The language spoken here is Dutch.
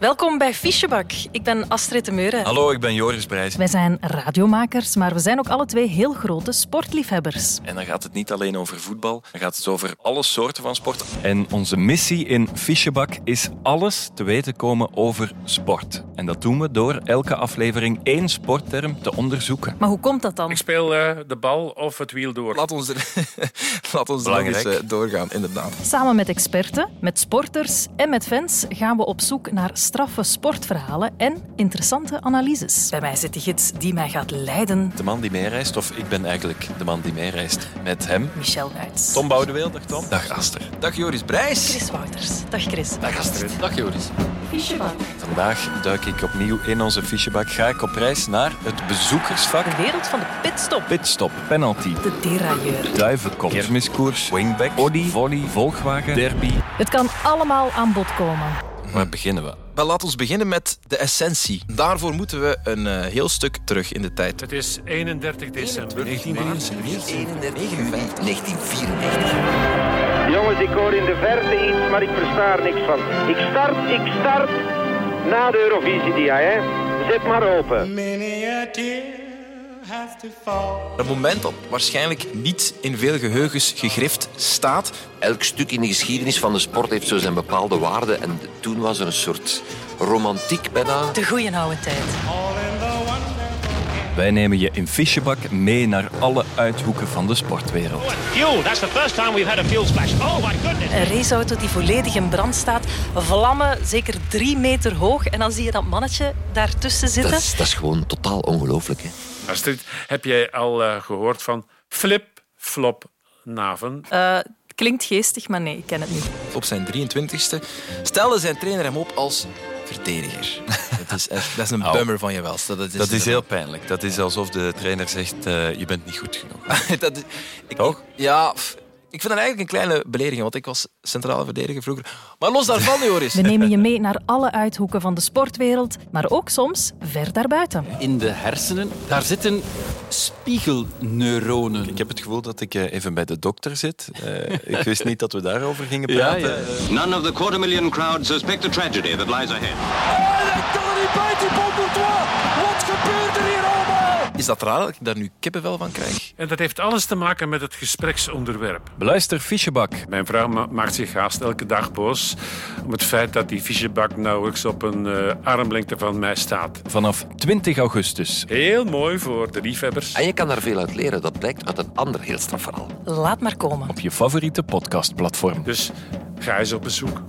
Welkom bij Fischebak. Ik ben Astrid de Meuren. Hallo, ik ben Joris Brijs. Wij zijn radiomakers, maar we zijn ook alle twee heel grote sportliefhebbers. En dan gaat het niet alleen over voetbal, dan gaat het over alle soorten van sport. En onze missie in Fischebak is alles te weten komen over sport. En dat doen we door elke aflevering één sportterm te onderzoeken. Maar hoe komt dat dan? Ik speel eh, de bal of het wiel door. Laat ons er, laat ons er nog eens Belangrijk. eh, doorgaan, inderdaad. Samen met experten, met sporters en met fans gaan we op zoek naar straffe sportverhalen en interessante analyses. Bij mij zit de gids die mij gaat leiden, De man die meereist, of ik ben eigenlijk de man die meereist met hem. Michel Buits. Tom Boudeweel, dag Tom. Dag Aster. Dag Joris Brijs. Chris Wouters. Dag Chris. Dag Astrid. Dag Joris. Vandaag duik ik opnieuw in onze fichebak. Ga ik op reis naar het bezoekersvak. De wereld van de pitstop. Pitstop, penalty, De derailleur. duivenkop, kermiskoers, wingback, body, volley, volkswagen, derby. Het kan allemaal aan bod komen. Waar beginnen we? Wel, laat ons beginnen met de essentie. Daarvoor moeten we een eh, heel stuk terug in de tijd. Het is 31 december 1973. 1994. Jongens, ik hoor in de verte iets, maar ik versta er niks van. Ik start, ik start na de Eurovisie-dia, hè. Zet maar open. Many a tear has to fall. Een moment dat waarschijnlijk niet in veel geheugens gegrift staat. Elk stuk in de geschiedenis van de sport heeft zo zijn bepaalde waarde. En toen was er een soort romantiek bijna. De goeie oude tijd. Wij nemen je in Fischebak mee naar alle uithoeken van de sportwereld. Fuel, that's the first time we've had a fuel splash. Oh my goodness. Een raceauto die volledig in brand staat. Vlammen zeker drie meter hoog. En dan zie je dat mannetje daartussen Dat zitten. is, dat is gewoon totaal ongelooflijk. Hè? Astrid, heb jij al eh, gehoord van Flip Flop Naven? Eh, het klinkt geestig, maar nee, ik ken het niet. Op zijn 23ste stelde zijn trainer hem op als verdediger. dat, is echt, dat is een Au. bummer van je wel. Dat, is, Dat is heel pijnlijk. Dat is alsof de trainer zegt, eh, je bent niet goed genoeg. dat is- ik, Toch? Ja, pff, ik vind dat eigenlijk een kleine belediging, want ik was centrale verdediger vroeger. Maar los daarvan, Joris. We nemen je mee naar alle uithoeken van de sportwereld, maar ook soms ver daarbuiten. in de hersenen, daar zitten spiegelneuronen. Ik heb het gevoel dat ik eh, even bij de dokter zit. Eh, ik wist niet dat we daarover gingen Ja, praten. ja, ja. None of the quarter million crowd suspect the tragedy that lies ahead. Is dat raar dat ik daar nu kippenvel van krijg? En dat heeft alles te maken met het gespreksonderwerp. Beluister Fischebak. Mijn vrouw ma- maakt zich haast elke dag boos om het feit dat die fichebak nauwelijks op een eh, armlengte van mij staat. Vanaf 20 augustus. Heel mooi voor de liefhebbers. En je kan daar veel uit leren. Dat blijkt uit een ander heel straf verhaal. Laat maar komen. Op je favoriete podcastplatform. Dus ga eens op bezoek.